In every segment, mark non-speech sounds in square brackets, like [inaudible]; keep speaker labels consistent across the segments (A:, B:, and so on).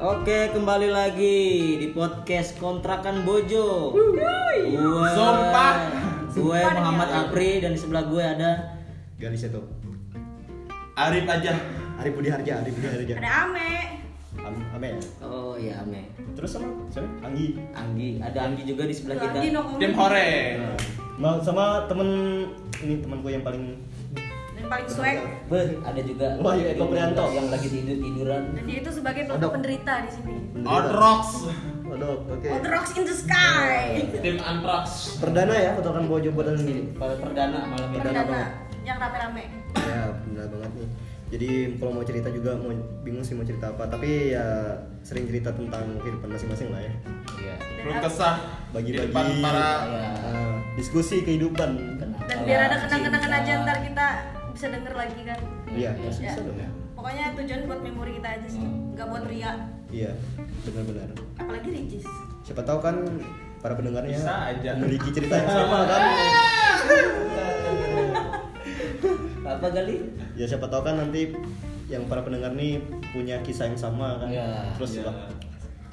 A: Oke, kembali lagi di podcast kontrakan Bojo. Gue
B: Sumpah.
A: Gue
C: Sumpah
A: Muhammad
B: demi Allah.
A: Apri dan di sebelah gue ada
D: Galis itu.
B: Arif aja.
D: Ari Budi Harja, Ari Budi Harja.
C: Ada Ame.
D: Am- Ame ya.
A: Oh iya, Ame.
D: Terus sama siapa? Anggi.
A: Anggi, ada Anggi juga di sebelah kita.
C: Lagi no comment.
B: Tim Hore.
D: Nah, sama temen ini temen gue yang paling
C: Dan paling swag.
A: Be, ada juga
D: Wah, iya, Eko Prianto.
A: yang lagi tidur tiduran.
C: Dan dia itu sebagai pe-
D: Odok.
C: penderita di sini.
E: Iya.
B: On Rocks.
D: Waduh, oke.
C: All the rocks in the sky.
B: Tim Antrax.
D: Perdana ya kotoran bojo badan sendiri.
A: Pada perdana malam ini.
D: Perdana banget.
C: Perdana. Yang rame-rame.
D: Ya, benar banget nih. Jadi kalau mau cerita juga mau bingung sih mau cerita apa, tapi ya sering cerita tentang kehidupan masing-masing lah ya.
A: Iya.
C: Dan,
B: Keluh kesah di
D: Bagi-bagi
B: depan para
A: Iya.
D: eh, diskusi kehidupan.
A: Kenapa
C: dan biar ada
A: cinta?
C: kenang-kenangan aja ntar kita bisa denger lagi kan.
D: Iya,
A: Iya.
D: bisa dong. ya.
C: Pokoknya tujuan buat memori kita aja sih.
A: Hmm.
C: Nggak buat ria.
D: Iya, benar-benar.
C: Apalagi Regis.
D: Siapa tahu kan para pendengarnya
B: Bisa aja.
D: memiliki cerita yang sama
B: [laughs]
D: kan.
A: Apa kali?
D: ya siapa tahu kan nanti yang para pendengar nih punya kisah yang sama kan
A: Iya.
D: terus
B: Iya.
D: lah,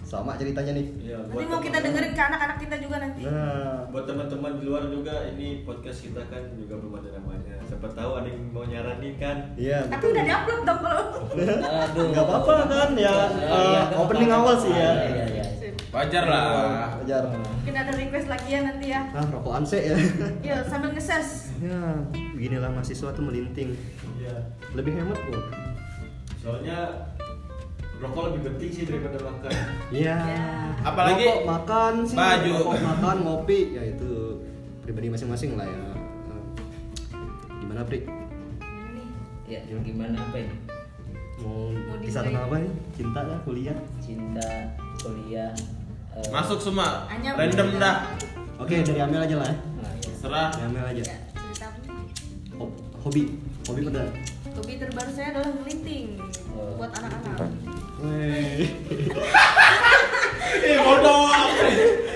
D: sama ceritanya nih
E: Iya,
C: Nanti mau
E: buat
C: kita
E: teman-teman-
C: dengerin ke anak-anak kita juga nanti.
D: nah
E: buat teman-teman di luar juga ini podcast kita kan juga belum ada namanya. Siapa tahu ada yang mau nyaranin kan.
D: iya
C: Tapi
D: betul.
C: udah diupload dong kalau.
A: Aduh.
D: nggak apa-apa kan ya
A: Iya,
D: eh,
A: iya,
D: opening
A: apa-apa.
D: awal sih ya
A: Iya, iya, iya.
B: Wajar lah.
E: Iya.
D: Ajar.
C: Mungkin ada request lagi ya nanti ya.
D: ah rokokan sih ya [laughs]
C: Yuk sambil ngeses.
D: ya beginilah mahasiswa tuh melinting
E: Iya.
D: lebih hemat kok
E: Soalnya rokok lebih penting sih daripada makan.
D: iya
C: Ya.
B: Apalagi
D: Rokok, makan sih
B: baju.
D: rokok, makan ngopi ya itu pribadi masing-masing lah ya Eh, gimana Pri
C: Ini nih,
A: Ya, gimana apa ini?
D: mau
C: Mau dimulai.
D: kisah tentang apa nih cinta lah kuliah
A: Cinta, kuliah, eh,
B: Masuk semua.
C: Hanya-
B: Random dah.
C: Hmm.
D: Oke, dari Amel aja lah. ya.
A: Nah, ya.
B: Serah.
D: Dari Amel aja.
C: Ya, cerita apa nih?
D: Hob- Hobi, hobi pedang.
C: Hobi terbaru saya adalah melinting
A: Oh.
C: buat anak-anak.
D: Wih.
B: Eh bodoh.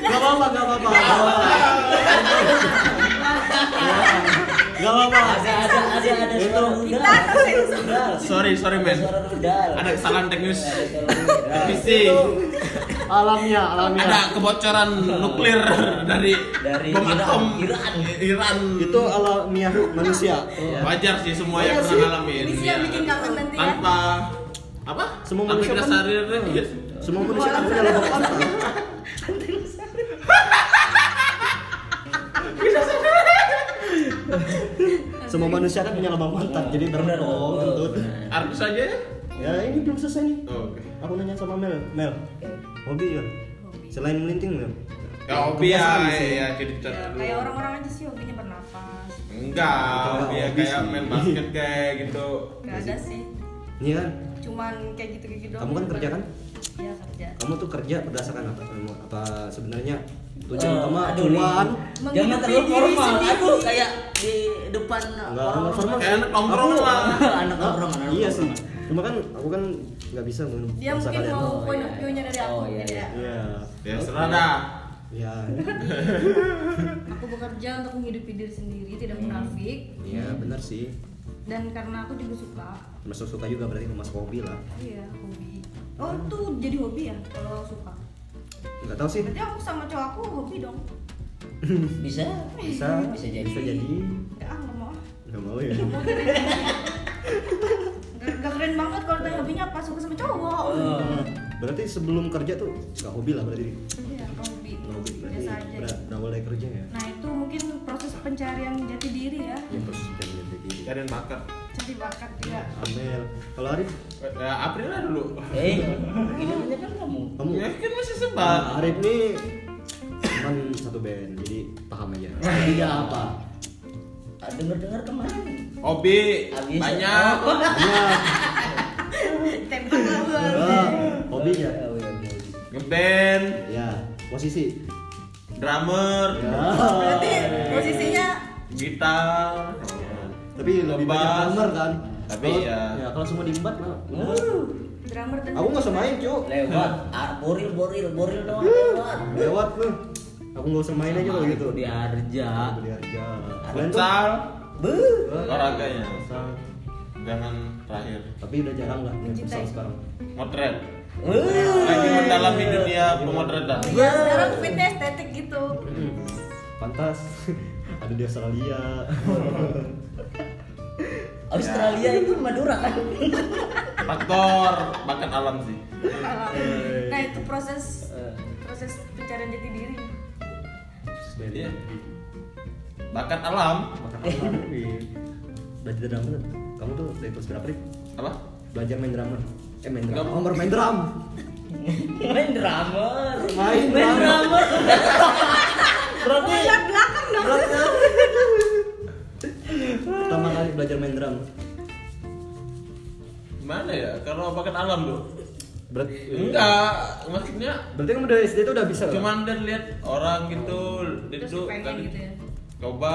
D: Gak apa-apa, gak apa-apa. Gak apa-apa. Gak apa-apa.
A: ada ada ada ada suara rudal.
C: Kita tuh yang
A: Rudal.
B: Sorry, sorry,
A: Ada
B: men.
A: Suara rudal.
B: Ada kesalahan teknis.
E: Iya,
A: Ada suara rudal.
B: Visi.
D: Alamnya, alamnya.
B: Ada kebocoran nuklir dari
A: Dari
B: bom
A: Iran.
B: atom
A: Iran.
B: Iran.
D: Itu iya. alamiah manusia.
B: wajar sih semua yang
C: Iya sih.
B: pernah ngalamin.
C: Ini sih
B: Iya.
C: yang bikin kangen nanti ya.
B: Tanpa apa?
D: Semua
B: Tanpa
D: manusia
B: kita
D: kan-
B: sadar, iya.
D: Semua manusia kan punya lebih pantas. Semua manusia kan punya lambang
A: Nah,
D: pantat, jadi benar dong. kentut.
B: Artis aja ya.
D: Ya ini belum selesai nih.
B: Oke.
D: Aku nanya sama Mel, Mel, hobi ya? Selain melinting Mel?
B: Ya hobi ya,
D: Kebiasaan
B: ya,
D: sih.
B: ya, jadi
C: Ya,
B: cerdas
C: kayak
B: dulu.
C: orang-orang aja sih hobinya bernafas.
B: Enggak,
D: Itu
B: hobi ya
D: hobi
B: kayak
D: sih.
B: main basket kayak gitu.
C: Gak ada sih.
D: Iya kan?
C: Cuman kayak gitu-gitu doang.
D: Kamu kan kerja kan?
C: Iya kerja.
D: Kamu tuh kerja berdasarkan apa? Kamu apa sebenarnya tujuan
A: Eh,
D: utama
A: aduh,
D: cuan?
A: nih. Jangan
C: Menghidupi
A: terlalu
C: diri
A: formal.
C: sendiri.
A: Aduh, kayak di depan
D: Enggak,
A: Oh.
D: enggak formal.
B: Kayak anak nongkrong
D: Aku- [laughs]
B: lah.
A: Anak nongkrong, anak
D: Iya sih.
A: nongkrong.
D: Cuma kan aku kan nggak bisa men-
C: Dia
D: bahasa
C: mungkin
D: kalian.
C: mau
A: Oh,
C: point of
A: iya,
C: view-nya dari
A: iya.
C: aku.
A: Oh, iya,
C: jadi
A: iya.
C: ya,
B: Ya
D: Iya.
B: serah dah.
D: Iya.
C: Aku bekerja untuk menghidupi diri sendiri, tidak munafik.
D: Iya benar sih.
C: Dan karena aku juga suka.
D: Termasuk suka juga berarti termasuk hobi lah.
C: Iya hobi. Oh itu jadi hobi ya kalau suka.
D: Nggak tahu sih.
C: Berarti aku sama cowok aku hobi dong.
A: Bisa.
D: Bisa.
A: Bisa jadi.
D: Bisa jadi.
C: Gak ah nggak mau. ah.
D: Nggak mau ya.
C: Gak, gak keren banget kalau tanya hobinya apa suka sama cowok.
A: Eh,
D: Berarti sebelum kerja tuh nggak hobi lah berarti.
C: Iya, hobi.
D: Nggak hobi berarti
C: Biasa aja.
D: berat- berawal dari kerja ya.
C: Nah, itu mungkin proses pencarian jati diri ya.
D: Ya proses pencarian diri.
B: Kalian makan.
C: Cari bakat ya.
D: Amel. Kalau Arif,
B: Ya April lah dulu.
A: Eh, ini namanya kan kamu.
D: kamu?
B: Ya kan masih sebat.
D: Nah, Arif nih cuman satu band, jadi paham aja. Hobinya Nah, iya, apa?
A: Ah, Dengar-dengar kemarin.
B: Hobi
A: Habis-
B: banyak.
A: Oh,
C: Tembak lah, Bang.
D: Ya, hobinya.
A: Oh, iya, iya, iya.
B: Ngeband,
D: Ya, posisi.
B: drummer,
D: Ya.
C: Berarti posisinya
B: gitar.
D: Tapi lebih
B: Lebas.
D: banyak drummer kan?
B: Tapi
D: Kalau-
B: ya.
D: Ya, kalau semua diembat mah. udah.
A: Uh,
C: drummer dan
D: Aku nggak usah main, Cuk.
A: Lewat. Ah, boril, boril, boril doang lewat.
D: Lewat lu. Aku nggak usah main aja kalau gitu.
A: Di Arja.
D: Beli harga. Kalian tuh-
B: Futsal,
A: Beuh.
B: olahraganya. Jangan terakhir.
D: Iya, Tapi udah jarang lah main
C: Mencintai.
D: futsal sekarang.
B: Motret. lagi mendalami dunia pemotretan
C: Iya, sekarang fitnya estetik gitu.
B: Hmm.
D: Pantas. [laughs] Ada di Australia.
A: Australia itu Madura kan?
B: faktor bahkan alam sih
C: Nah, itu proses proses pencarian jati diri.
B: Iya. bahkan alam
D: Makan Belajar drama tuh. Kamu tuh dari kelas berapa, Rik?
B: apa
D: Belajar main drama. Eh main
B: Enggak,
D: drama.
B: Bu.
D: Oh, baru main drum.
A: Main drummer.
D: Main drummer.
A: drummer. Berarti
C: Lihat belakang dong.
D: Pertama kali belajar main drum.
B: gimana ya karena bahkan alam tuh
D: Berarti
B: Iya. enggak maksudnya
D: Berarti kamu dari SD tuh udah bisa. Cuma
B: cuman dan lihat orang gitu dia
C: Terus
B: tuh
C: pengen
B: kan
C: gitu ya.
B: coba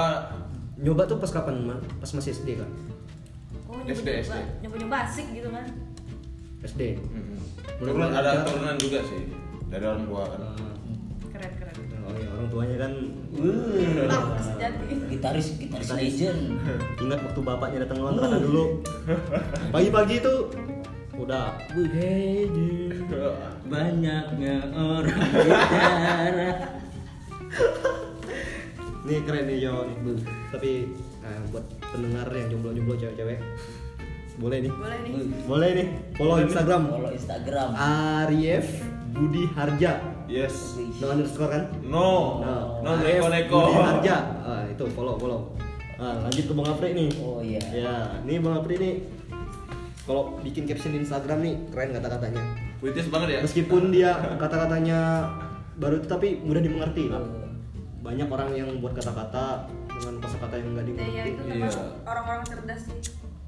D: nyoba tuh pas kapan, Man? Pas masih SD kan?
C: Oh,
B: SD.
C: nyoba-nyoba, nyoba-nyoba asik gitu kan.
D: SD.
B: Mm-mm.
D: Belum
B: Kebetulan ada
D: belajar.
B: turunan juga sih dari orang tua kan
C: Keren keren.
D: Ah, Oh, iya, orang tuanya kan Iya.
A: Wuh.
C: Laku sejati.
A: Gitaris gitaris
D: Gitaris.
A: legend.
D: ingat waktu bapaknya datang lontran dulu. Pagi-pagi itu udah "Wih, hey, gitu. dude."
A: Banyaknya orang bicara.
D: Nih keren nih Yo nih. Tapi eh, buat pendengar yang jomblo-jomblo cewek-cewek boleh nih.
C: Boleh nih.
D: Boleh nih. Follow Instagram
A: Follow Instagram.
D: Ah. Arief Budi Harja.
B: yes
D: No underscore kan?
B: no no
D: Arief
B: neko neko
D: Budi Harja. Ah, itu follow follow. Ah, lanjut ke Bang Apri nih.
A: Oh iya.
D: Ya, nih Bang Apri nih kalau bikin caption di Instagram nih keren kata-katanya.
B: puitis banget ya
D: Meskipun dia kata-katanya baru itu tapi mudah dimengerti. Banyak orang yang buat kata-kata dengan kosakata yang
C: Nah,
D: nggak
C: ya
D: dimengerti.
C: itu termasuk
B: Iya.
C: orang-orang cerdas sih.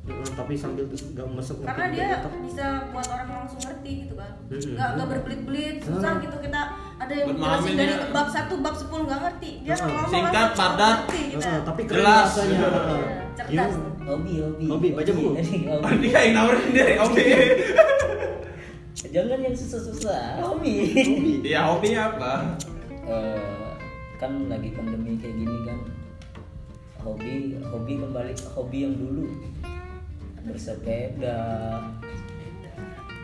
D: Nah, tapi sambil nggak masuk
C: Karena
D: ngerti
C: dia
D: juga tetap.
C: bisa buat orang langsung ngerti gitu kan.
D: Mm-mm.
C: Nggak nggak berbelit-belit, susah
D: Ah.
C: gitu kita ada yang
B: Buat
C: jelasin
B: memahaminya.
C: dari bab 1 bab 10 nggak ngerti. Dia
D: Ah.
C: ngomong
B: Singkat,
C: langsung
B: padat.
C: ngerti gitu. kita.
D: Ah, tapi keren
B: Jelas.
D: rasanya. Iya.
C: Cerdas.
D: Gimana?
A: Hobi, hobi.
D: Hobi, baca buku.
A: Jadi,
B: Oh,
A: hobi.
B: dia yang nawarin diri hobi
A: Jangan yang susah-susah. Hobi.
D: Iya.
B: ya hobinya apa
A: Eh, kan lagi pandemi kayak gini kan. Hobi, hobi kembali ke hobi yang dulu. Bersepeda,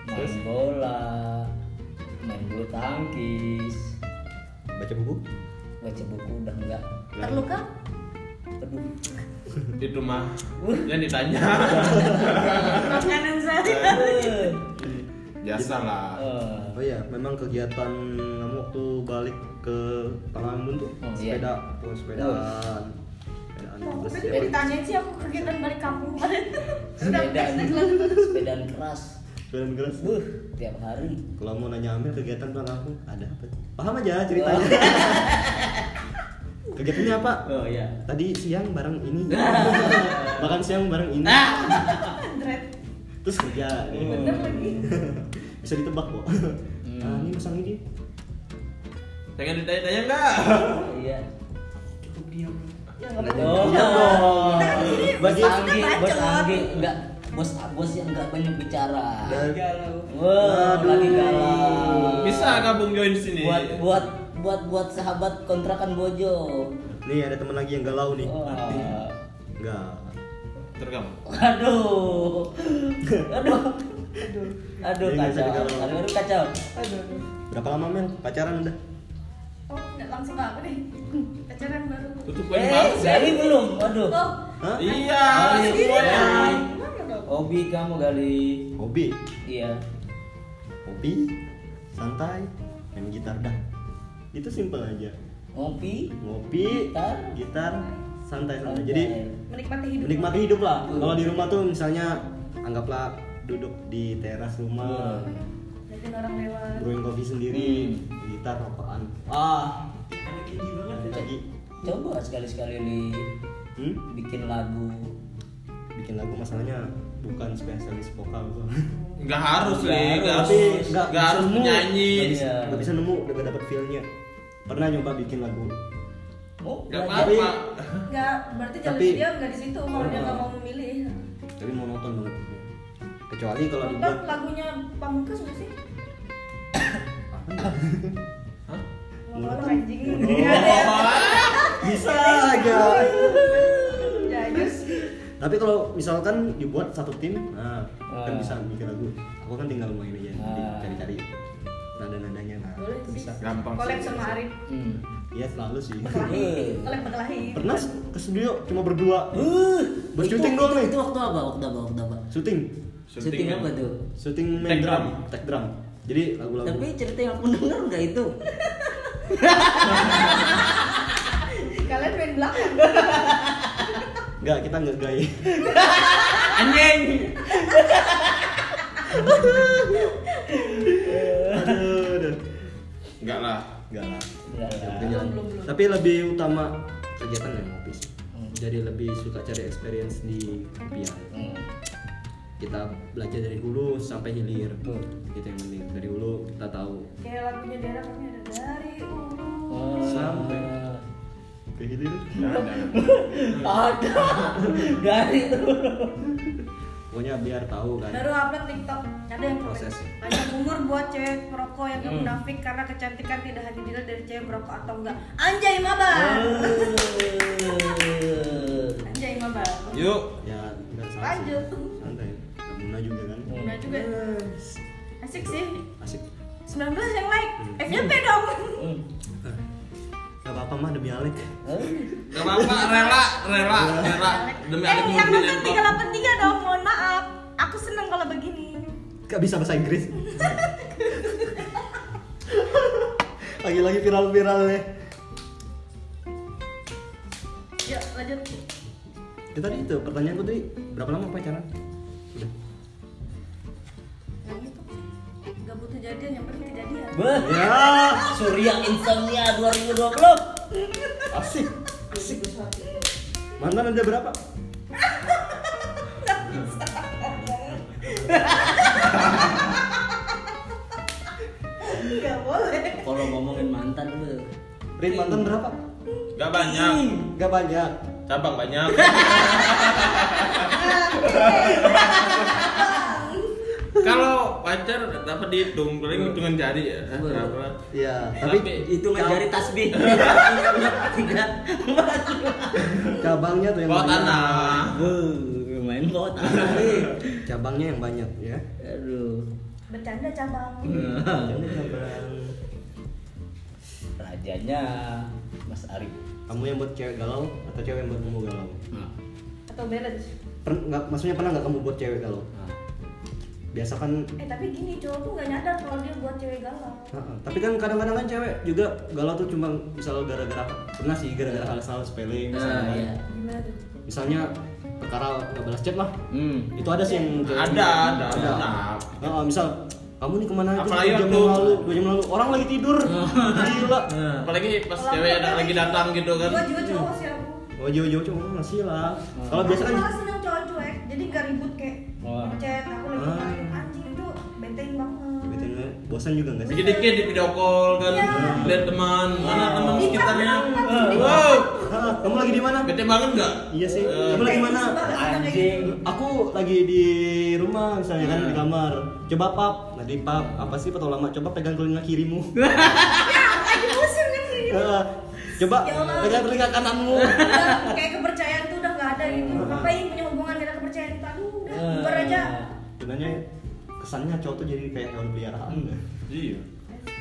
A: main bola, main bulu tangkis,
D: Baca buku?
A: baca buku udah enggak.
C: Terluka?
A: Aduh.
B: itu mah yang ditanya
C: Makanan
B: Iya,
C: saya.
A: Eh,
B: biasa lah
A: eh.
D: Oh iya, memang kegiatan kamu waktu balik ke Palembang tuh
A: Oh, iya.
D: sepeda, oh, sepedaan. Sepedaan terus
C: Tapi
D: dia-
C: juga ditanyain sih aku kegiatan balik kampung kemarin. [laughs] Sudah
A: sepedaan,
C: pasti selalu.
A: sepedaan keras.
D: sepedaan keras.
A: Buh, tiap hari.
D: Kalau mau nanya Amir kegiatan pulang aku ada apa? Paham aja ceritanya. Kegiatannya apa?
A: Oh iya.
D: Tadi siang bareng ini. Makan siang bareng ini.
C: Dread.
D: Terus kerja. gitu.
C: Bener lagi.
D: [laughs] Bisa ditebak kok. Nah, ini pasang ini.
B: pengen ditanya-tanya enggak
A: Iya.
D: Cukup diam.
C: Ya nggak
A: Oh.
C: betul. Nah,
A: Bos
C: ini maksudnya
D: kan
A: Anggi, bos
C: bacot.
A: Anggi enggak bos bos yang enggak banyak bicara.
D: Galau.
A: Wah,
D: Aduh.
A: lagi galau.
B: bisa gabung join sini
A: buat buat buat buat sahabat kontrakan Bojo.
D: Nih ada teman lagi yang galau nih.
A: Oh. Wah.
D: Enggak.
B: Terus
A: Aduh. Aduh. Aduh. Aduh
D: Ini bisa
A: kacau.
D: digalau.
A: Aduh kacau.
C: Aduh, aduh.
D: Berapa lama Mel pacaran udah?
C: Oh, nggak langsung apa nih? [laughs] Pacaran baru.
B: tutup poin
A: Eh,
B: banget
A: jadi belum. Aduh.
C: Oh,
D: Hah?
B: iya
A: Harus gini,
B: itu dia.
A: Bang.
C: mana dong?
A: Hobi kamu kali.
D: Hobi.
A: Iya.
D: Hobi santai main gitar dah. Itu simpel aja.
A: Ngopi.
D: Ngopi,
A: Gitar.
D: gitar, santai-santai. Nah, Jadi
C: Menikmati hidup.
D: menikmati hidup lah. Kalau di rumah tuh misalnya anggaplah duduk di teras rumah,
B: Hmm.
C: Liatin orang lewat.
D: [laughs] brewing kopi sendiri, gitar rokokan. Ah,
B: Iya,
D: lagi
A: coba sekali-sekali li
D: hmm?
A: bikin lagu
D: bikin lagu masalahnya bukan spesialis
B: [laughs]
D: vokal tuh.
B: Enggak harus
A: Nggak
B: nih, enggak
A: harus.
B: Iya, harus.
D: nggak
B: Enggak harus
D: nemu.
B: penyanyi.
D: Nggak bisa,
A: Iya.
D: nggak bisa nemu udah dapet feelnya pernah nyoba bikin lagu
A: oh
B: Enggak
A: belajar.
D: Tapi-
B: apa-apa.
C: Nggak, berarti jalan
D: Tapi-
C: dia nggak di situ kalau dia nggak mau memilih.
D: tapi monoton banget kecuali kalau
C: Bukan
D: dibuat
C: lagunya Pamungkas nggak sih?
B: Hah?
C: Ngomong anjing.
D: Bodoh. bisa aja
C: ya? Jayus.
D: tapi kalau misalkan dibuat satu tim nah, kan
A: Ah.
D: bisa mikir lagu aku kan tinggal main aja nanti
A: Ah.
D: cari-cari nada-nadanya nah
C: Boleh sih.
D: bisa
B: Gampang sih.
C: Collab sama Arif.
A: Hmm.
D: iya selalu sih
A: [laughs] Iya.
C: Collab berkelahi.
D: Eh. pernah ke studio cuma berdua
A: Uh,
D: Buat
A: itu-
D: syuting doang
A: itu-
D: nih.
A: Itu waktu apa? Waktu apa? Waktu apa?
D: syuting
A: Syuting apa tuh?
D: syuting
B: Take
D: main
B: drum.
D: drum tag drum jadi lagu-lagu
A: Tapi cerita yang aku denger nggak [laughs] itu?
C: Kalian main belakang.
D: [laughs] Enggak, kita enggak gay. [laughs]
B: Anjing.
D: Aduh, aduh.
B: Enggak lah.
A: Enggak
D: Enggak lah.
A: lah.
D: Enggak lah.
C: Belum, belum, belum.
D: Tapi lebih utama kegiatan yang ngopi sih. Jadi lebih suka cari experience di kopian.
A: Hmm.
D: Kita belajar dari hulu sampai hilir.
A: Betul.
D: Gitu yang penting. Dari hulu kita tahu
C: Kayak lagunya Dara kami ada dari ulu.
A: Oh.
D: Sampai. ke hilir.
B: Jangan, jangan.
A: Ada dari tuh.
D: Pokoknya biar tahu kan.
C: Baru upload TikTok. Ada yang komen,
D: Proses.
C: Panjang umur buat cewek perokok yang
A: Hmm.
C: munafik karena kecantikan tidak hanya dilihat dari cewek perokok atau enggak. Anjay maba.
A: Hmm.
C: Anjay maba.
B: Yuk.
D: Ya, enggak salah. sih.
C: Lanjut.
D: Santai. Muna juga kan.
C: Nah juga asik sih.
D: Asik.
C: 19 yang like. FYP dong.
A: Hmm.
D: Eh, Gak apa-apa mah demi Alek.
B: Gak apa-apa, rela, rela, rela. Demi ya,
C: eh,
B: Alif
C: yang
B: Nurdin
C: nonton
B: and Pop.
C: 383 dong, mohon maaf. Aku seneng kalau begini.
D: Gak bisa bahasa Inggris. Lagi-lagi viral-viral ya.
C: Yuk, lanjut.
D: Ya tadi itu pertanyaanku tadi berapa lama pacaran? Udah.
C: Yang itu Nah, gitu. nggak butuh jadian, yang penting kejadian.
A: Beh,
D: Ya,
A: Surya Insomnia 2020.
D: asik. Mantan ada berapa?
C: Nggak boleh.
A: Kalau ngomongin mantan tuh.
D: Rin mantan berapa?
B: Gak banyak.
D: Gak Hmm, banyak.
B: Cabang
C: [laughs]
B: banyak. Kalau pacar dapat dihitung paling hitungan jari ya. Eh, Berapa?
D: Iya, tapi
B: Tapi
A: Itu mencari [laughs] tasbih. Tiga. empat.
D: cabangnya tuh yang
B: Bawa
D: banyak.
B: tanah.
A: Beh, main bawa tanah nih.
D: Cabangnya yang banyak ya.
A: Aduh.
C: Bercanda cabang.
A: Hmm.
D: Cabangnya cabang.
A: Rajanya Mas Arif.
D: Kamu yang buat cewek galau atau cewek yang buat kamu galau?
A: Nah.
C: Atau balance.
D: Per, nggak, maksudnya pernah nggak kamu buat cewek galau? Biasa kan
C: Eh tapi gini cowok tuh nggak nyadar kalau dia buat cewek galau.
D: Heeh, Tapi kan kadang-kadang kan cewek juga galau tuh cuma misal gara-gara pernah sih gara-gara hal-hal sepele
B: Ah,
D: misalnya,
A: Nah,
D: kan.
A: iya.
C: Gimana tuh?
D: misalnya perkara nggak balas chat lah
A: Hmm.
D: itu ada sih yang cewek-
B: Ada, ada,
D: ada.
B: ada.
D: Heeh, misal kamu nih kemana aja
B: Apalagi
D: dua
B: waktu- Nah.
D: jam yang lalu dua jam lalu orang lagi
B: [laughs]
D: tidur gila
B: Apalagi pas
C: Kalau
B: cewek
C: aku
B: ada lagi datang gitu kan.
C: Gua juga cowok sih aku.
D: oh jauh jauh cuma masih lah
B: Nah.
D: kalau
C: Aku
D: biasa kan
C: malah seneng cowok cuek, jadi nggak ribut kayak
A: Wah.
C: chat aku lagi
D: Ah.
C: main anjing itu betein banget.
D: betulnya bosan juga nggak sih
B: Dikit-dikit di video call kan,
C: Iya.
B: lihat teman, mana teman
C: Iya,
B: sekitarnya.
C: bener.
B: Wow,
D: Heeh, Ah, kamu lagi di mana
B: bete banget nggak?
D: iya sih
B: Eh,
D: kamu lagi mana
C: gitu.
A: Anjing.
D: aku lagi di rumah misalnya kan di
B: Nah.
D: kamar coba pap nah di pap apa sih patah lama coba pegang telinga
B: [laughs]
D: kirimu
C: Ya, Lagi pusing kan gini.
B: Ya
D: Eh, coba
C: Ya Allah.
D: pegang telinga kananmu
C: Udah, kayak kepercayaan tuh udah nggak ada gitu.
B: Ah.
C: Ngapain punya hubungan dengan kepercayaan itu? Aduh, udah bubar aja.
A: Ah.
D: sebenarnya kesannya cowok tuh jadi kayak hewan peliharaan
B: Iya.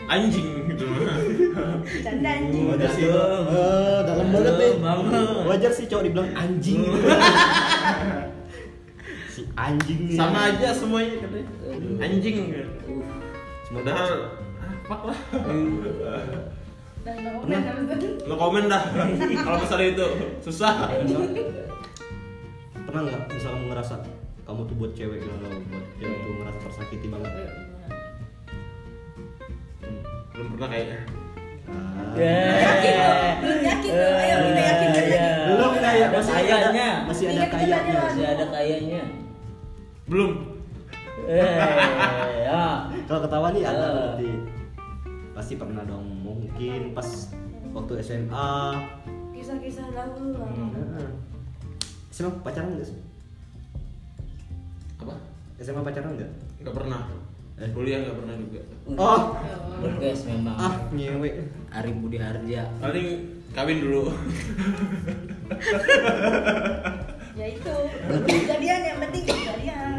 B: Anjing gitu.
C: Bercanda anjing.
D: wajar sih
A: Dalam.
D: Eh, dalam banget nih
A: banget.
D: wajar sih cowok dibilang [laughs] anjing si anjing nih
B: Sama aja semuanya katanya. Anjing. ya. Padahal ah, fuck lah.
C: Dan nggak komen harus
B: Lo komen dah kalau masalah itu. Susah.
D: pernah nggak misal kamu ngerasa kamu tuh buat cewek galau buat cewek tuh ngerasa tersakiti banget Ah.
B: Nah. Belum pernah kayaknya.
D: Ah.
C: Yakin loh, belum yakin loh. Ayo kita yakin
A: Iya,
C: lagi.
A: iya.
D: belum kayak
A: Ada
D: masih
A: kayaknya.
D: ada masih ada
C: Ingat kita
D: kayaknya
C: tanya
A: Masih ada kayaknya.
B: Belum.
A: Eh, ya.
D: kalau ketawa nih ada
A: Ah.
D: berarti pasti pernah dong mungkin pas waktu SMA
C: Kisah-kisah lalu lah.
B: Hmm.
D: Heeh. SMA pacaran nggak sih
B: Apa?
D: SMA pacaran nggak
B: Nggak pernah.
D: Eh.
B: Kuliah nggak pernah juga.
D: oh
A: Bergas memang.
D: ah nyewe
A: Arif Budi Harja.
B: Paling kawin dulu.
C: ya itu jadian yang penting jadian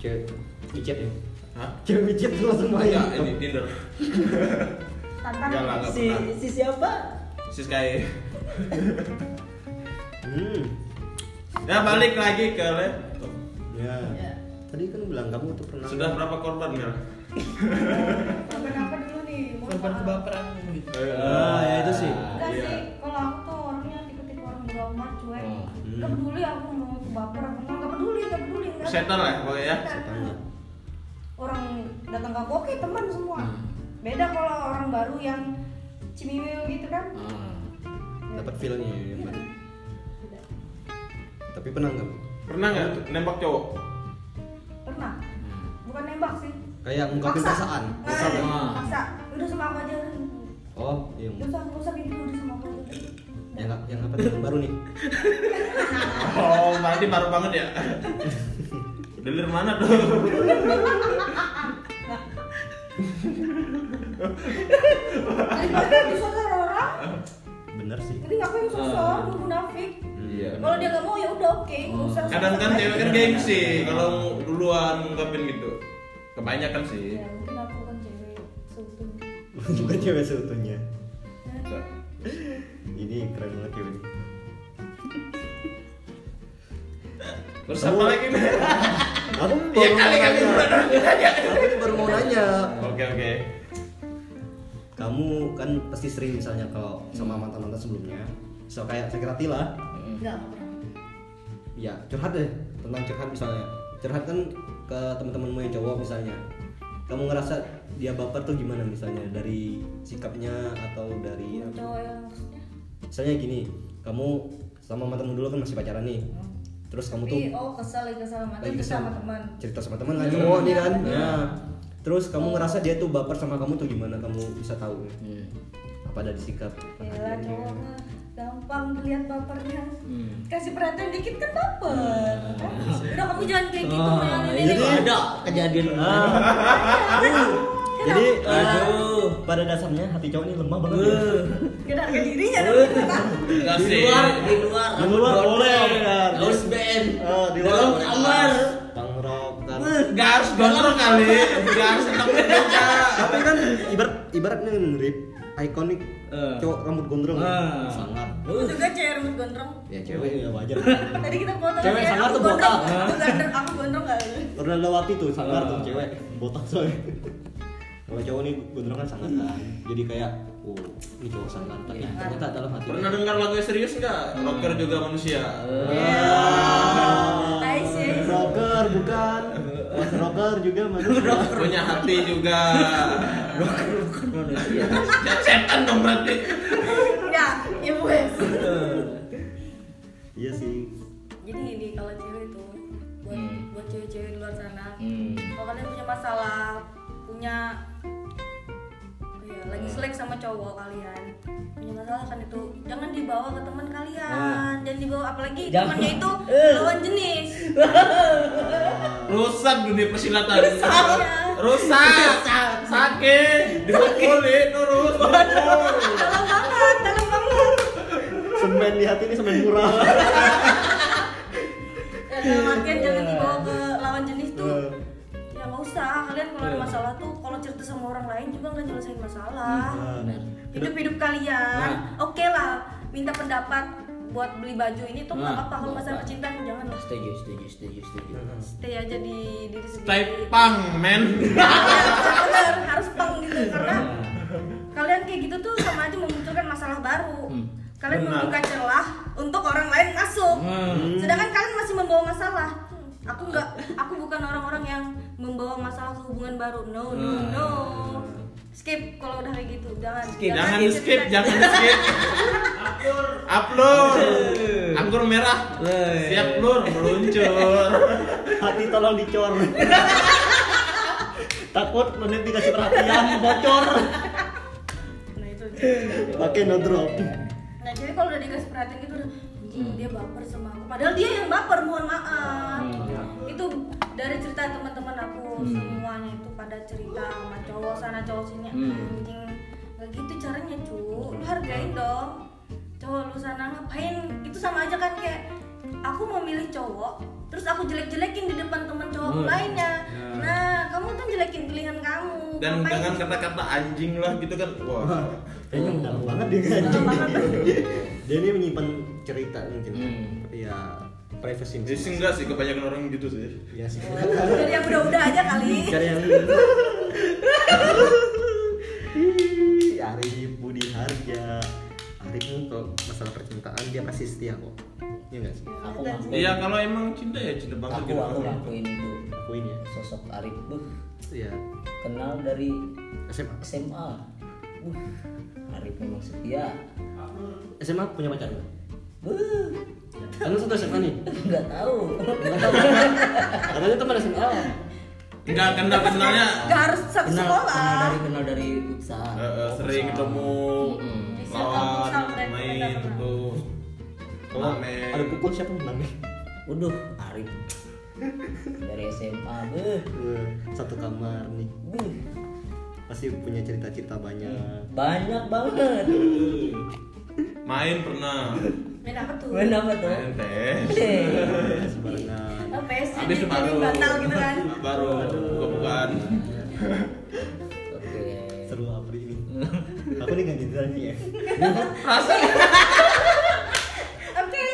D: cewek micet ya
B: Hah?
D: cewek micet tuh langsung main
B: Enggak, ini Tinder. Enggak lah,
C: tantangan
B: enggak
A: si
B: pernah.
A: si siapa
B: Sis kayak
D: hmm
B: Ya balik lagi ke lab.
D: ya
C: Ya.
D: tadi kan bilang kamu tuh pernah
B: Sudah berapa korban, Mel?
C: korban apa dulu nih mohon
F: korban
C: maaf.
F: kebaperan gitu.
D: Ah, ya itu sih.
C: Enggak
B: Iya.
C: sih, kalau aku tuh orangnya tipe-tipe orang beragama cuek.
B: Oh.
C: Gak peduli aku mau baper apa enggak, gak peduli, gak peduli. Gak
B: Setan lah pokoknya ya?
D: Setan ya.
C: Orang datang ke aku, oke teman semua. Beda kalau orang baru yang cimiwil gitu kan.
A: Hmm. Ah.
D: dapat feelnya ya, yang baru.
C: Tidak.
D: tapi pernah nggak
B: Pernah nggak nembak cowok?
C: Pernah. Bukan nembak sih.
D: kayak ngungkapin
C: Maksa.
D: perasaan
C: Maksa.
B: Ah.
C: Maksa. Udah sama aku aja.
D: oh iya
C: Gak usah, gak usah gitu, udah sama aku aja.
D: yang yang apa tuh yang baru nih
B: Oh, berarti baru banget
D: [laughs]
B: ya. Delir mana tuh?
C: Daripada disosor orang,
D: bener sih
C: jadi ngapain
B: Ah.
C: sosor, lu munafik.
B: Iya.
C: Kalau dia nggak mau ya udah oke, nggak usah.
B: Kadang kan cewek kan gengsi kalau duluan ngungkapin gitu. Kebanyakan sih.
C: Ya mungkin aku kan cewek seutuhnya.
D: juga cewek seutuhnya
B: Enggak.
D: ini keren banget cewek ini
B: Terus apa
A: [laughs]
B: lagi? Mel?
D: aku
B: Ya
D: baru mau
B: kali kali
D: nanya.
B: udah
D: aku baru mau nanya
B: Oke oke.
D: kamu kan pasti sering misalnya kalau sama mantan mantan sebelumnya so kayak sekretari lah
C: Enggak, nggak pernah.
D: ya curhat deh tentang curhat misalnya curhat kan ke teman-temanmu yang cowok misalnya kamu ngerasa dia baper tuh gimana misalnya dari sikapnya atau
B: Iya.
D: dari
C: Yang Cowok yang maksudnya.
D: misalnya gini kamu sama mantanmu dulu kan masih pacaran nih terus kamu tuh
C: Tapi, oh kesel lagi kesel sama
D: lagi
C: teman
D: kesel.
C: sama teman.
D: cerita sama teman kan cowok nih kan
C: Iya.
D: Nah, terus
C: Oh.
D: kamu ngerasa dia tuh baper sama kamu tuh gimana kamu bisa tahu
A: Hmm.
D: apa dari sikap
C: Gila Iya,
D: perhatiannya?
C: cowok mah gampang dilihat bapernya.
A: Hmm.
C: Kasih perhatian dikit kan baper. kan?
B: Hmm.
C: Udah kamu jangan kayak gitu
A: Ah,
B: iya.
C: Mel. Ini
A: itu
C: nih.
A: ada kejadian
D: [laughs] jadi
A: Aduh.
D: eh, pada dasarnya hati cowok ini lemah banget ya.
A: Eh,
C: Gak ada harga dirinya
A: Eh.
C: dong.
B: [laughs] Enggak
A: di
B: sih.
A: luar di luar
D: Di luar
A: Outdoor.
D: boleh, benar.
A: House band
D: Eh, di luar
A: Dalam
D: boleh.
A: kamar
D: bang rok ntar.
B: Enggak harus bener kali. Enggak harus seneng juga.
A: Nah.
D: tapi kan ibarat ibaratnya ngerip ikonik
A: Eh.
D: cowok rambut gondrong ya.
A: Ah.
D: sangar
C: Aku juga cewek rambut gondrong.
D: ya
A: Iya,
D: cewek ya wajar
C: Tadi kita foto
A: Cewek
C: ya,
A: sangar
C: aku
A: tuh
C: gondrong.
A: botak.
C: Aku gondrong, aku gondrong gak lu.
D: Ronaldowati tuh sangar tuh
A: Ah.
D: cewek botak soalnya kalau cowok nih gondrong kan sangar kan jadi kayak oh ini cowok sangar tapi
A: Iya.
D: ternyata dalam hati
B: Pernah dengar lagu serius enggak? Rocker juga manusia.
C: Eh.
D: Ah.
C: I see.
D: rocker
A: [laughs]
D: bukan Mas rocker juga manusia
B: Punya hati juga.
A: Indonesia
B: Ya, Setan dong berarti.
C: Enggak, ya wes.
D: iya sih
C: jadi gini kalau cewek itu buat
A: Hmm.
C: buat cewek-cewek di luar sana
A: Hmm.
C: kalau kalian punya masalah punya oh ya, lagi
A: Hmm.
C: selek sama cowok kalian punya masalah kan itu jangan dibawa ke teman kalian jangan dibawa apalagi
A: Ah. Jangan.
C: temannya itu
A: Eh.
C: lawan jenis
B: Rusak dunia persilatan. Rusak.
C: Iya.
B: Sakit. Dipukulin terus.
C: dalam banget dalam banget
D: semen di hati ini semen murah
C: Ya, dalam artian jangan dibawa ke lawan jenis tuh
D: Eh.
C: ya nggak usah kalian kalau ada masalah tuh kalau cerita sama orang lain juga nggak nyelesain masalah
A: benar.
C: hidup hidup kalian oke lah minta pendapat buat beli baju ini tuh nggak
A: Nah,
C: apa kalau
A: nggak
C: masalah
A: apa.
C: percintaan jangan lah
A: setuju setuju setuju setuju
C: stay aja di diri
B: Stay
C: sendiri
B: pang, men.
C: Ya, bener, harus pang gitu karena kalian kayak gitu tuh sama aja memunculkan masalah baru
A: Hmm.
C: kalian
B: Benar.
C: membuka celah untuk orang lain masuk
A: Hmm.
C: sedangkan kalian masih membawa masalah Hmm, aku nggak aku bukan orang-orang yang membawa masalah ke hubungan baru no no no skip kalau udah kayak gitu jangan
A: Skip.
B: Jangan
C: cerita-
B: skip, jangan skip. Upload. Anggur merah.
A: Wey.
B: Siap lur, meluncur.
D: hati tolong dicor takut menit dikasih perhatian bocor
C: nah itu
D: pakai no drop
C: Nah jadi kalau udah dikasih perhatian gitu udah "Anjing,
B: Hmm.
C: dia baper sama aku. Padahal dia yang baper, mohon maaf.
B: Hmm, iya.
C: Itu dari cerita teman-teman aku semuanya itu pada cerita sama cowok sana cowok sini
B: Hmm.
C: anjing nggak gitu caranya
B: Hmm.
C: cu lu hargain dong cowok lu sana ngapain itu sama aja kan kayak aku memilih cowok terus aku jelek-jelekin di depan teman cowok
B: Hmm.
C: lainnya
B: Ya.
C: nah kamu kan jelekin pilihan kamu
B: dan
C: Ngapain?
B: dengan kata-kata anjing lah gitu kan wah
D: Kayaknya dalam banget dia kan.
C: Dalam banget.
D: Dia ini menyimpan cerita mungkin.
A: Hmm.
D: Iya, privacy.
B: jadi sih enggak sih kebanyakan orang gitu sih
D: Iya sih.
C: jadi yang udah-udah aja kali
D: Cari yang Arif Budi Harja. Arif kan kalau masalah percintaan dia pasti setia kok. Iya enggak sih?
A: Aku
C: Dan-
A: ngakuin.
B: iya kalau emang cinta ya cinta banget
A: aku
B: gitu
A: aku ngakuin itu
D: Akuin ya.
A: sosok Arif Beuh,
D: Iya.
A: kenal dari
D: SMA.
A: SMA Beuh, Uh, Arif memang setia
D: SMA punya pacar enggak?
A: Beuh,
D: Kan lu satu SMA nih.
A: nggak tahu [laughs]
D: Katanya teman SMA.
B: enggak kenal kenalnya
C: gak harus satu
A: kenal, kenal
C: sekolah
A: dari kenal dari futsal
B: eh, eh, sering
A: Futsal.
B: ketemu
A: Mm-mm.
C: Bisa,
B: lawan
C: bisa,
B: main
C: mereka- mereka
B: gitu
D: Kalau
B: Mamen.
D: ada pukul siapa yang menang nih?
A: Waduh, Arif dari SMA, beuh,
D: Eh, Satu kamar nih.
A: beuh,
D: Pasti punya cerita-cerita banyak.
A: banyak banget.
B: main pernah
C: main apa tuh
A: Main apa tuh?
B: main tes
A: Hei.
D: Sebarangan.
C: Oh, PSG
B: habis
C: jadi
B: baru
C: batal gitu
B: [laughs]
C: kan
B: baru bukan
A: Oke.
D: seru Apri ini aku nih ganti ditanya ya
C: oke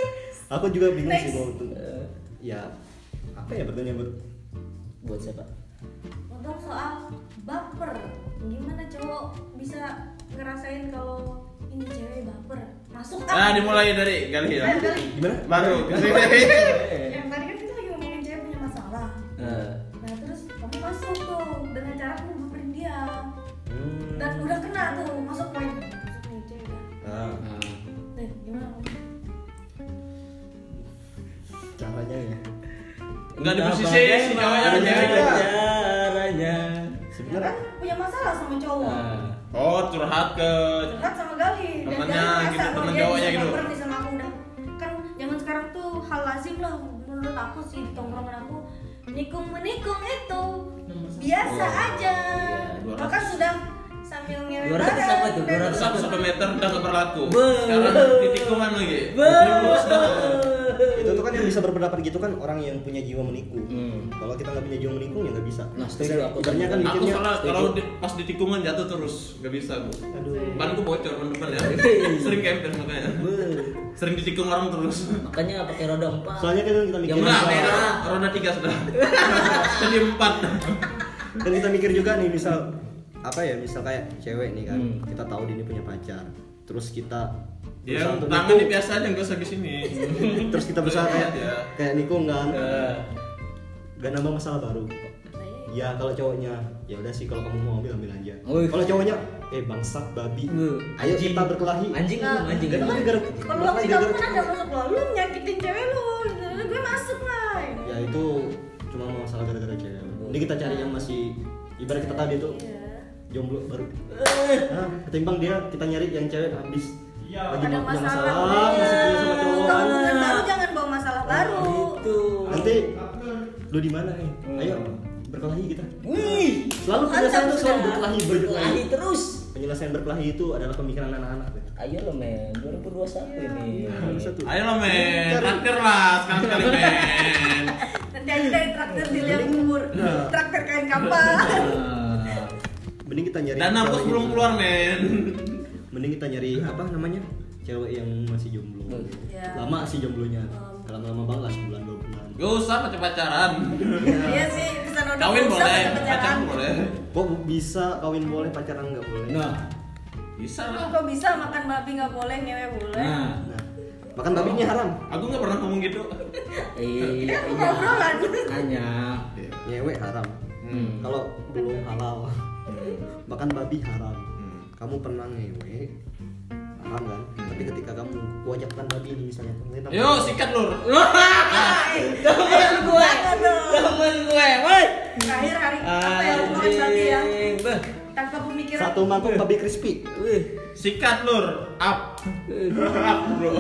D: aku juga bingung sih
C: Next.
D: mau tuh ya apa ya pertanyaan buat
A: Buat siapa?
C: ngomong soal baper gimana cowok bisa ngerasain kalau ini cewek baper masuk kan?
B: nah dimulai dari gali ya
C: Ayo, Gali.
D: gimana
B: baru [laughs]
C: yang tadi kan kita lagi ngomongin cewek punya masalah
A: Eh,
C: nah terus kamu masuk tuh dengan cara kamu baperin dia
D: Hmm.
C: dan udah kena tuh masuk poin masuk nih cewek udah
D: Nah,
C: nih gimana
D: caranya ya
B: Enggak di
A: entah
B: posisi ya, si cowoknya
A: bagaimana
B: ceweknya.
A: Caranya.
C: ya kan
D: sebenarnya
C: punya masalah sama cowok
A: Eh,
B: oh curhat ke
C: curhat sama Gali dan
B: Temennya
C: Gali merasa
B: gitu,
C: bahwa
B: temen
C: dia
B: cowoknya
C: bisa
B: gitu.
C: baper nih sama aku udah kan zaman sekarang tuh hal lazim lah menurut aku sih di tongkrongan aku nikung menikung itu biasa aja
B: Iya, 200.
C: bahkan sudah sambil ngewe
A: 200
C: bareng Iya.
A: apa tuh?
C: dan-
A: 200
B: satu satu meter udah gak berlaku
A: Beuh.
B: sekarang di tikungan lagi
A: Beuh.
D: itu tuh kan yang bisa berpendapat gitu kan orang yang punya jiwa menikung
A: Hmm.
D: kalau kita nggak punya jiwa menikung ya nggak bisa
A: Nah, setuju aku.
D: Ibaratnya kan
B: aku
D: mikirnya
B: salah
D: setuju.
B: kalau di- pas di tikungan jatuh terus nggak bisa aku
D: aduh
B: banku bocor ban depan
C: [laughs]
B: ya sering kempes makanya
D: Beuh.
B: sering ditikung orang terus
A: Makanya pakai roda empat.
D: soalnya kan kita mikir
A: Yang
B: enggak
D: juga-
B: merah roda tiga sudah jadi empat
D: dan kan kita mikir juga nih misal apa ya misal kayak cewek nih kan
A: Hmm.
D: kita tahu dia ini punya pacar terus kita
B: ya
D: berusaha untuk
B: tangan
D: nikung.
B: ini biasa aja nggak usah di sini
D: [laughs] terus kita berusaha kayak
B: Ya.
A: Iya.
D: kayak nikung kan
B: Eh,
D: gak nambah masalah baru ya kalau cowoknya ya udah sih kalau kamu mau ambil ambil aja
A: Wih.
D: kalau cowoknya eh bangsat babi
A: Wih.
D: ayo kita berkelahi
A: Anjing
C: Nah,
A: belum anjing.
D: Kan
A: belum.
D: gara-
C: kalau
D: kan
C: aku sih
D: gara-
C: kamu kan ada masuk lo lu nyakitin cewek lu lu- gue masuk lah
D: ya itu cuma masalah gara-gara cewek ini kita cari yang masih ibarat kita tadi tuh
C: Iya.
D: jomblo baru Nah, ketimbang dia kita nyari yang cewek habis
B: Iya.
D: lagi
C: ada
D: mau punya
C: masalah,
D: masalah masih punya sama
C: Kalau
D: cowok
C: hubungan baru jangan bawa masalah baru
A: Itu.
D: nanti lu di mana eh ayo berkelahi kita
A: Wih.
D: selalu penjelasan
C: Mantap
D: itu selalu
C: sudah.
D: berkelahi berkelahi
A: Berkelahi terus.
D: penyelesaian berkelahi itu adalah pemikiran anak-anak ya.
A: Ayo lo men,
C: Iya.
A: 2021 ini.
D: Satu.
B: ayo lah men
D: Cari-
B: traktir lah sekali sekali men
C: nanti aja dari traktir di liang kubur
B: Iya.
C: traktir kain kapan
A: Ah.
D: mending kita nyari
B: dana bos
D: cewek
B: belum
D: yang-
B: keluar men
D: mending kita nyari apa namanya cewek yang masih jomblo
C: Ya.
D: lama sih jomblonya lama-lama banget lah sebulan dua bulan
B: gak usah pacar pacaran
C: iya sih bisa nodong
B: kawin
C: bisa
B: boleh
C: pakai
B: pacaran
C: pacaran.
B: boleh
D: kok bisa kawin boleh pacaran nggak boleh
A: Nah,
B: bisa lah
C: kok bisa makan babi nggak boleh ngewe boleh
A: nah,
D: Nah, makan babinya haram
B: aku nggak pernah ngomong gitu
A: iya,
C: Aku
A: iya,
C: ngobrolan
A: hanya,
D: nyewe haram
B: Hmm.
D: kalau belum halal [laughs] Hmm. makan babi haram kamu pernah ngewe haram kan tapi ketika kamu wajahkan babi ini misalnya kamu-
B: yuk sikat lur
A: temen gue,
C: Jangan dong.
A: temen gue, woi, Ah,
C: terakhir hari apa ya hubungan babi ya
A: Anjing, beh.
C: tanpa pemikiran
D: satu mangkok babi crispy
A: Wih,
B: sikat lur up up bro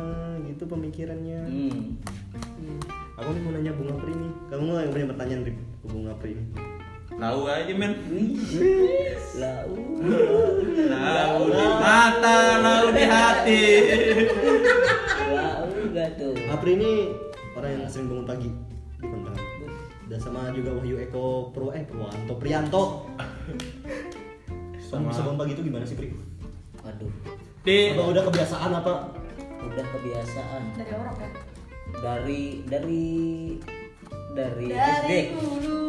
D: ah gitu pemikirannya
A: hmm.
D: Hmm. aku nih mau nanya bunga pri nih kamu nggak yang punya pertanyaan Rip ke bunga pri ini
B: tahu aja men
A: lau,
B: Lau di mata, lau di hati.
A: lau gak tuh,
D: apa Bakri ini orang yang sering bangun pagi di kontrakan. Dan sama juga Wahyu Eko Pro eh Purwanto Prianto. Kamu bisa bangun pagi itu gimana sih Pri?
A: Waduh,
B: Di
D: Apa udah kebiasaan apa?
A: udah kebiasaan
C: dari orang kan
A: dari dari dari, SD
C: dari dulu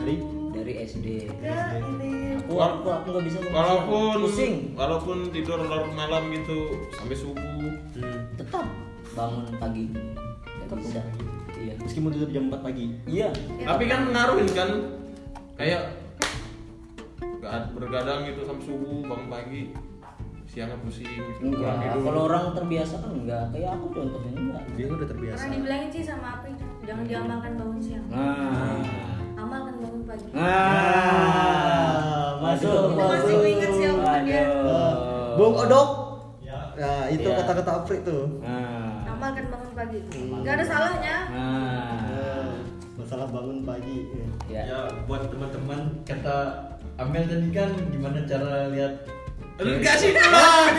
D: Dari
A: dari SD
C: ke ini
A: aku aku aku nggak bisa kebiasaan.
B: walaupun
A: pusing
B: walaupun tidur larut malam gitu sampai subuh
D: hmm,
A: tetap bangun pagi nggak bisa iya
D: meskipun tidur jam 4 pagi.
A: iya
B: tapi kan ngaruhin kan kayak ga- bergadang gitu sampai subuh bangun pagi siangnya pusing gitu. kurang
A: enggak
B: tidur.
A: kalau orang terbiasa kan enggak kayak aku contohnya enggak
D: Dia kan udah terbiasa.
C: karena dibilangin sih sama aku jangan diamalkan bangun siang
A: nah
C: amalkan bangun pagi
A: nah
D: Masuk,
A: masuk
C: masih
A: masuk
C: ingat sih aku tadi ya.
A: Aduh.
D: Eh, Bung Odok.
E: Ya.
D: Nah, itu
A: Iya.
D: kata-kata Apri tuh.
A: nah
C: amalkan bangun pagi nggak ada salahnya
E: Ah.
A: nah
D: Eh, masalah bangun pagi.
A: ya
E: Ya, buat teman-teman kata Amel tadi kan gimana cara lihat
B: enggak sih
C: Nah.
B: Bang.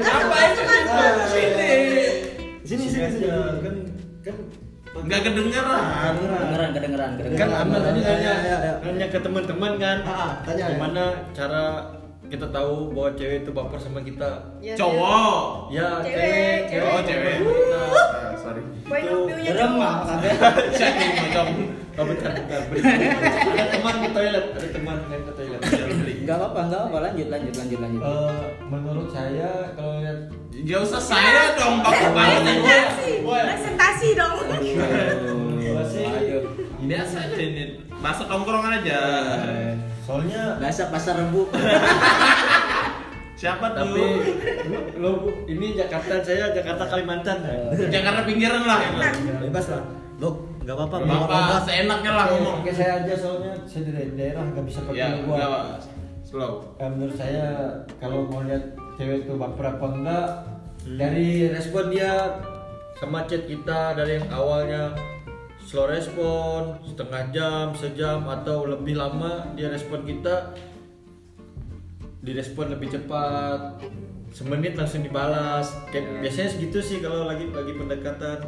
B: ngapain sih Bang? sini
D: Sini sini sini.
E: aja. Ah, kan kan
B: enggak kedengeran
A: kedengeran kedengeran
E: kan
A: kedengeran
E: Amel tadi
D: Ya,
E: nanya
D: ya, ya.
E: nanya ke teman-teman kan
D: Ah, tanya, ya.
E: gimana cara kita tahu bahwa cewek itu baper sama kita
C: Ya,
B: cowok
E: ya
C: Cewek,
E: cewek
B: oh
C: cewek.
E: cewek,
B: cewek Nah, sorry
C: point of view-nya
A: Gerem
C: cowok.
A: apa kabe?
B: jadi macam
E: Oh, bentar, bentar. ada teman ke toilet, ada teman yang ke toilet.
A: Enggak apa-apa, enggak apa-apa lanjut lanjut lanjut lanjut.
E: Eh, menurut saya kalau lihat
B: Gak usah saya dong
C: Eh,
B: pakai banget aja
C: presentasi presentasi dong
E: Gua sih-
A: Aduh.
B: biasa aja ini bahasa tongkrongan aja
E: soalnya
A: Bahasa pasar [laughs] rebu.
B: siapa
E: tapi
B: tuh
E: lo ini Jakarta saya Jakarta Kalimantan ya.
B: Jakarta pinggiran lah
C: ya. Nah,
B: emang
D: Bebas lah. Dok, enggak apa-apa. Bang
B: Bapak seenaknya lah
E: Oke,
B: ngomong
E: Oke saya aja soalnya saya dari daerah nggak bisa pakai
B: ya
E: gua.
B: enggak slow
E: Eh, menurut saya kalau mau lihat cewek itu baper apa enggak
D: Hmm.
E: dari respon dia sama chat kita dari yang awalnya slow respon setengah jam sejam atau lebih lama dia respon kita direspon lebih cepat semenit langsung dibalas
B: Ya.
E: kayak biasanya segitu sih kalau lagi lagi pendekatan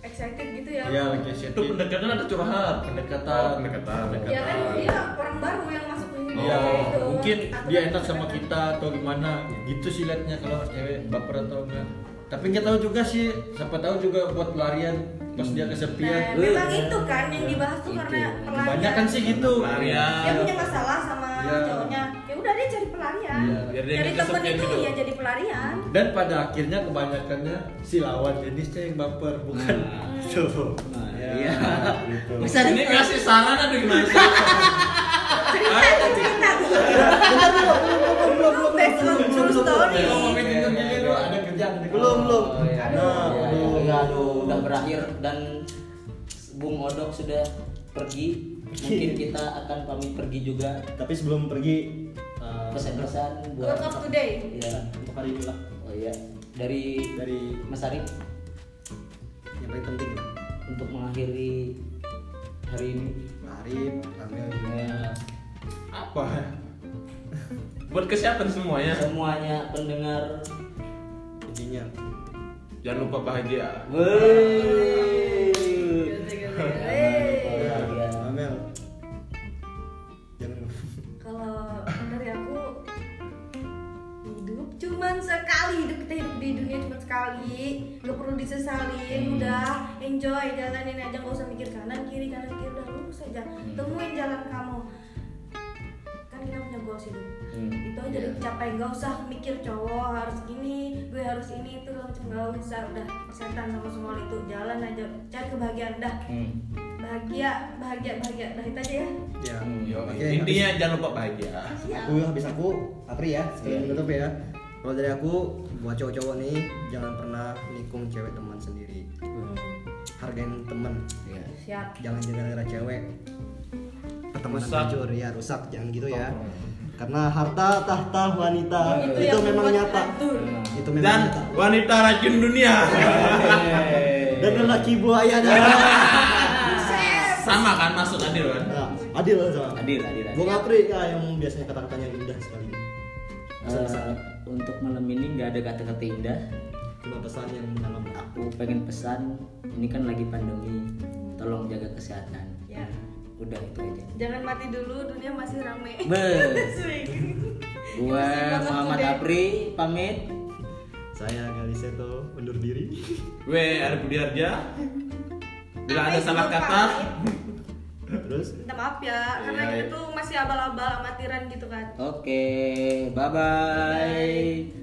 C: excited gitu ya
E: ya lagi chat
B: itu pendekatan ada curhat
E: pendekatan
B: Oh, pendekatan.
C: ya kan dia orang baru yang masuk ini
B: Oh,
E: Iya,
C: gitu.
E: mungkin
C: Aturan
E: dia enak sama
C: pergerakan.
E: kita atau gimana. Gitu sih liatnya kalau cewek baper atau enggak. Tapi nggak tahu juga sih, siapa tahu juga buat pelarian pas
C: Nah,
E: dia kesepian.
C: memang itu kan yang dibahas tuh
A: Itu.
C: karena pelarian.
E: Banyak kan sih gitu.
B: Pelarian.
C: Dia punya masalah sama
E: Iya.
C: cowoknya. Ya udah dia cari pelarian.
E: Iya,
B: biar dia
C: Dari
B: nggak
C: temen
B: kesepian
C: itu
B: gitu.
C: ya jadi pelarian.
E: Dan pada akhirnya kebanyakannya si lawan jenisnya yang baper, bukan cowok.
A: Iya.
E: Ya, gitu.
A: Pasar
B: ini ngasih saran atau gimana sih
C: Cerita itu cerita. Based on true story.
B: Belum, belum.
E: Tapi
A: Iya,
E: tetap gini lu ada kerjaan ada
D: Belum, belum.
E: Oh, iya.
A: Nah,
E: Nah, aduh.
A: ya, aduh, udah berakhir dan Bung Odok sudah pergi.
E: [laughs]
A: Mungkin kita akan pamit pergi juga.
D: Tapi sebelum pergi eh,
A: Pesan-pesan buat
C: Look up today.
A: Iya.
D: untuk hari ini lah
A: Oh iya. Dari
D: dari
A: Mas Arif
D: yang paling penting lah.
A: untuk mengakhiri hari ini.
D: Arif, Amel,
A: Ya,
E: Apa?
B: buat kesehatan semuanya
A: Semuanya pendengar.
D: intinya
B: jangan lupa bahagia
A: Wey.
C: Hey.
E: Ya.
D: Amel. Jangan [laughs]
C: Kalau dari aku hidup cuman sekali hidup kita hidup di dunia cuma sekali gak perlu disesalin udah enjoy jalanin aja gak usah mikir kanan kiri kanan kiri udah lurus aja temuin jalan kamu kan kita punya goals hidup
A: Hmm.
C: itu aja
B: Iya.
C: dicapai gak usah mikir cowok harus gini gue harus ini itu macam gak usah udah setan sama semua itu jalan aja cari kebahagiaan dah
A: Hmm.
C: bahagia bahagia bahagia dah itu aja ya
D: ya.
A: Hmm,
B: Yo,
D: Oke,
B: intinya jangan lupa bahagia
C: Siap.
D: aku habis aku Apri ya
B: Iya.
D: sekalian menutup ya kalau dari aku buat cowok-cowok nih jangan pernah nikung cewek teman sendiri
B: Hmm.
D: hargain temen
A: Iya.
C: siap
D: jangan gara-gara cewek pertemanan
B: Rusak. Oh.
D: hancur ya rusak jangan gitu ya karena harta tahta wanita
C: Oh, Itu
D: itu,
C: yang
D: memang
C: membuat
D: nyata
C: hancur.
B: Hmm.
D: itu memang
B: dan
D: nyata
B: wanita racun dunia
D: dan lelaki buaya
B: [laughs]
D: dah.
B: sama kan masuk adil kan
D: Nah, adil lah sama
A: Adil, adil, adil.
D: Bung Apri ah, yang biasanya kata-katanya indah sekali
A: Eh, untuk malam ini nggak ada kata-kata indah.
D: cuma pesan yang mendalam lah.
A: aku pengen pesan ini kan lagi pandemi tolong jaga kesehatan
C: Ya.
A: udah itu
C: [laughs]
A: aja
C: Jangan mati dulu, dunia masih
B: [laughs]
C: rame.
A: Bes. gua
C: Masih banget
A: Muhammad
C: tuh, Dek.
A: Apri pamit
D: Saya Galiseto undur diri. [laughs]
B: Weh, ada Budiarja. Bila ada
C: Pamit,
B: salah
C: gua
B: kata,
D: Terus
C: Minta maaf ya, karena
B: Iya,
C: kita
B: iya.
C: tuh masih abal-abal amatiran gitu kan.
A: oke bye bye